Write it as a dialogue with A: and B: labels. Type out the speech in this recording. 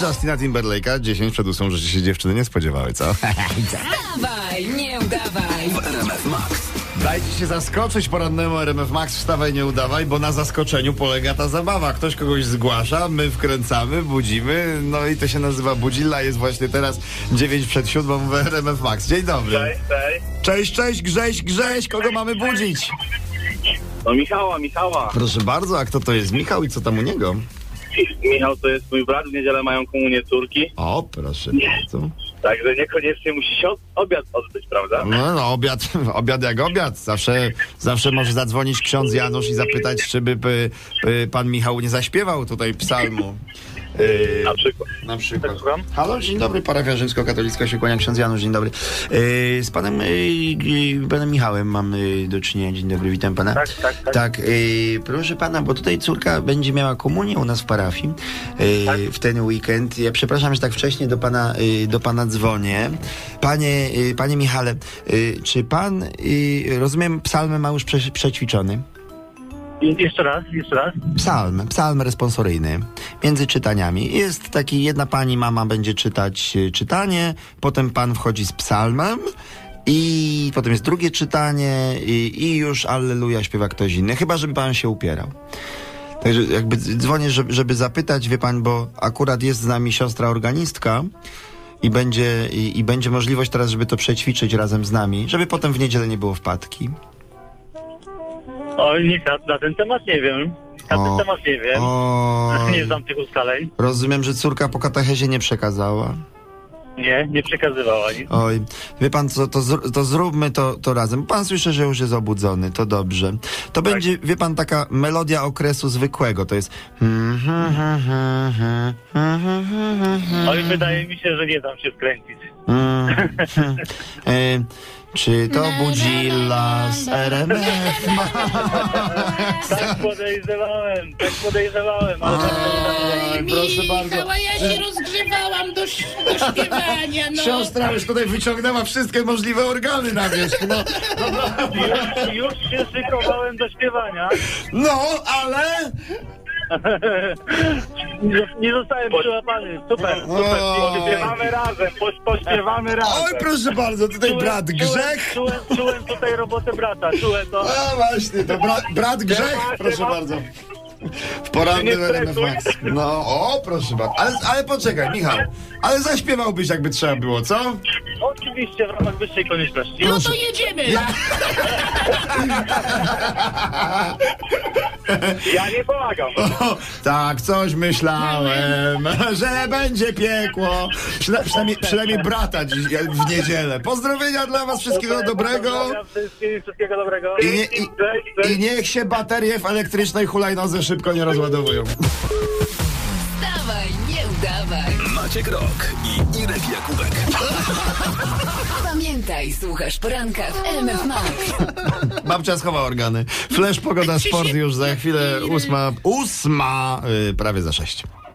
A: Justina Timberlake'a 10 przed 8, że się dziewczyny nie spodziewały, co?
B: Dawaj, nie udawaj.
A: Dajcie się zaskoczyć porannemu RMF Max, wstawaj nie udawaj, bo na zaskoczeniu polega ta zabawa. Ktoś kogoś zgłasza, my wkręcamy, budzimy, no i to się nazywa budzilla, jest właśnie teraz 9 przed 7 w RMF Max. Dzień dobry.
C: Cześć, cześć.
A: Cześć, cześć, Grześ, Grześ, kogo mamy budzić?
C: No Michała, Michała.
A: Proszę bardzo, a kto to jest Michał i co tam u niego?
C: Michał to jest mój brat, w niedzielę mają komunię córki,
A: O, proszę bardzo.
C: także niekoniecznie musi się od, obiad odbyć, prawda?
A: No, no obiad, obiad jak obiad. Zawsze, zawsze może zadzwonić ksiądz Janusz i zapytać, czy by, by, by pan Michał nie zaśpiewał tutaj psalmu. Yy,
C: Na przykład.
A: na przykład.
C: Tak, słucham?
A: Halo, dzień dobry, parafia rzymskokatolicka się kłania, ksiądz Janusz, dzień dobry. Yy, z panem, yy, panem Michałem mam yy, do czynienia, dzień dobry, witam pana.
C: Tak, tak, tak.
A: Tak, yy, proszę pana, bo tutaj córka będzie miała komunię u nas w parafii yy,
C: Tak.
A: w ten weekend. Ja przepraszam, że tak wcześnie do pana, yy, do pana dzwonię. Panie, yy, panie Michale, yy, czy pan, yy, rozumiem, psalm ma już prze, przećwiczony?
D: I- Jeszcze raz, jeszcze raz.
A: Psalm, psalm responsoryjny. Między czytaniami. Jest taki, jedna pani mama będzie czytać y, czytanie, potem pan wchodzi z psalmem i potem jest drugie czytanie i, i już Alleluja śpiewa ktoś inny. Chyba, żeby pan się upierał. Także jakby dz- dzwonię, żeby, żeby zapytać, wie pan, bo akurat jest z nami siostra organistka i będzie, i, i będzie możliwość teraz, żeby to przećwiczyć razem z nami, żeby potem w niedzielę nie było wpadki.
D: O, nic na, na ten temat nie wiem. Na
A: O.
D: ten temat nie wiem.
A: O,
D: Nie znam tych ustaleń.
A: rozumiem, że córka po katechezie nie przekazała.
D: Nie, nie przekazywała nic.
A: Oj, wie pan co, to, zr- to zróbmy to, to razem. Pan słyszy, że już jest obudzony, to dobrze. To będzie, wie pan, taka melodia okresu zwykłego, to jest... hmm, hmm.
D: Oj, wydaje mi się, że nie dam się wkręcić.
A: E, Czy to budzilla z RMF?
D: Tak podejrzewałem, tak podejrzewałem, ale tak
A: Oj, proszę bardzo.
B: Michała, ja się rozgrzewałam do, ś- do śpiewania, no.
A: Siostra już tutaj wyciągnęła wszystkie możliwe organy na wierzch. No,
D: już, tak już się szykowałem do śpiewania.
A: no ale...
D: Nie, nie zostałem przyłapany. Super, super.
C: Pośpiewamy razem, poś, pośpiewamy razem.
A: Oj, tak. proszę bardzo, tutaj brat Grzech.
D: Czułem, czułem, czułem tutaj robotę brata, czułem to.
A: A właśnie, to bra, brat Grzech, proszę bardzo. W
C: Nie
A: porannym
C: stresuj.
A: RMF Max. No, o, proszę bardzo. Ale, ale poczekaj, Michał. Ale zaśpiewałbyś, jakby trzeba było, co?
D: Oczywiście w ramach wyższej konieczności.
B: No to jedziemy.
C: Ja nie pomagam.
A: O, tak, coś myślałem, że będzie piekło. Przyna, przynajmniej, przynajmniej brata dziś, w niedzielę. Pozdrowienia dla was, wszystkiego dobrego.
D: Pozdrawiam wszystkich, Wszystkiego dobrego.
A: I, nie, i, I niech się baterie w elektrycznej hulajnodze szybko nie rozładowują.
B: Dawaj, nie udawaj.
E: Maciek Rok i Irek Jakubek.
B: Pamiętaj, słuchasz poranka w RMF Max.
A: Babcia schowa organy. Flash pogoda sport już za chwilę. Ósma, ósma, y, prawie za sześć.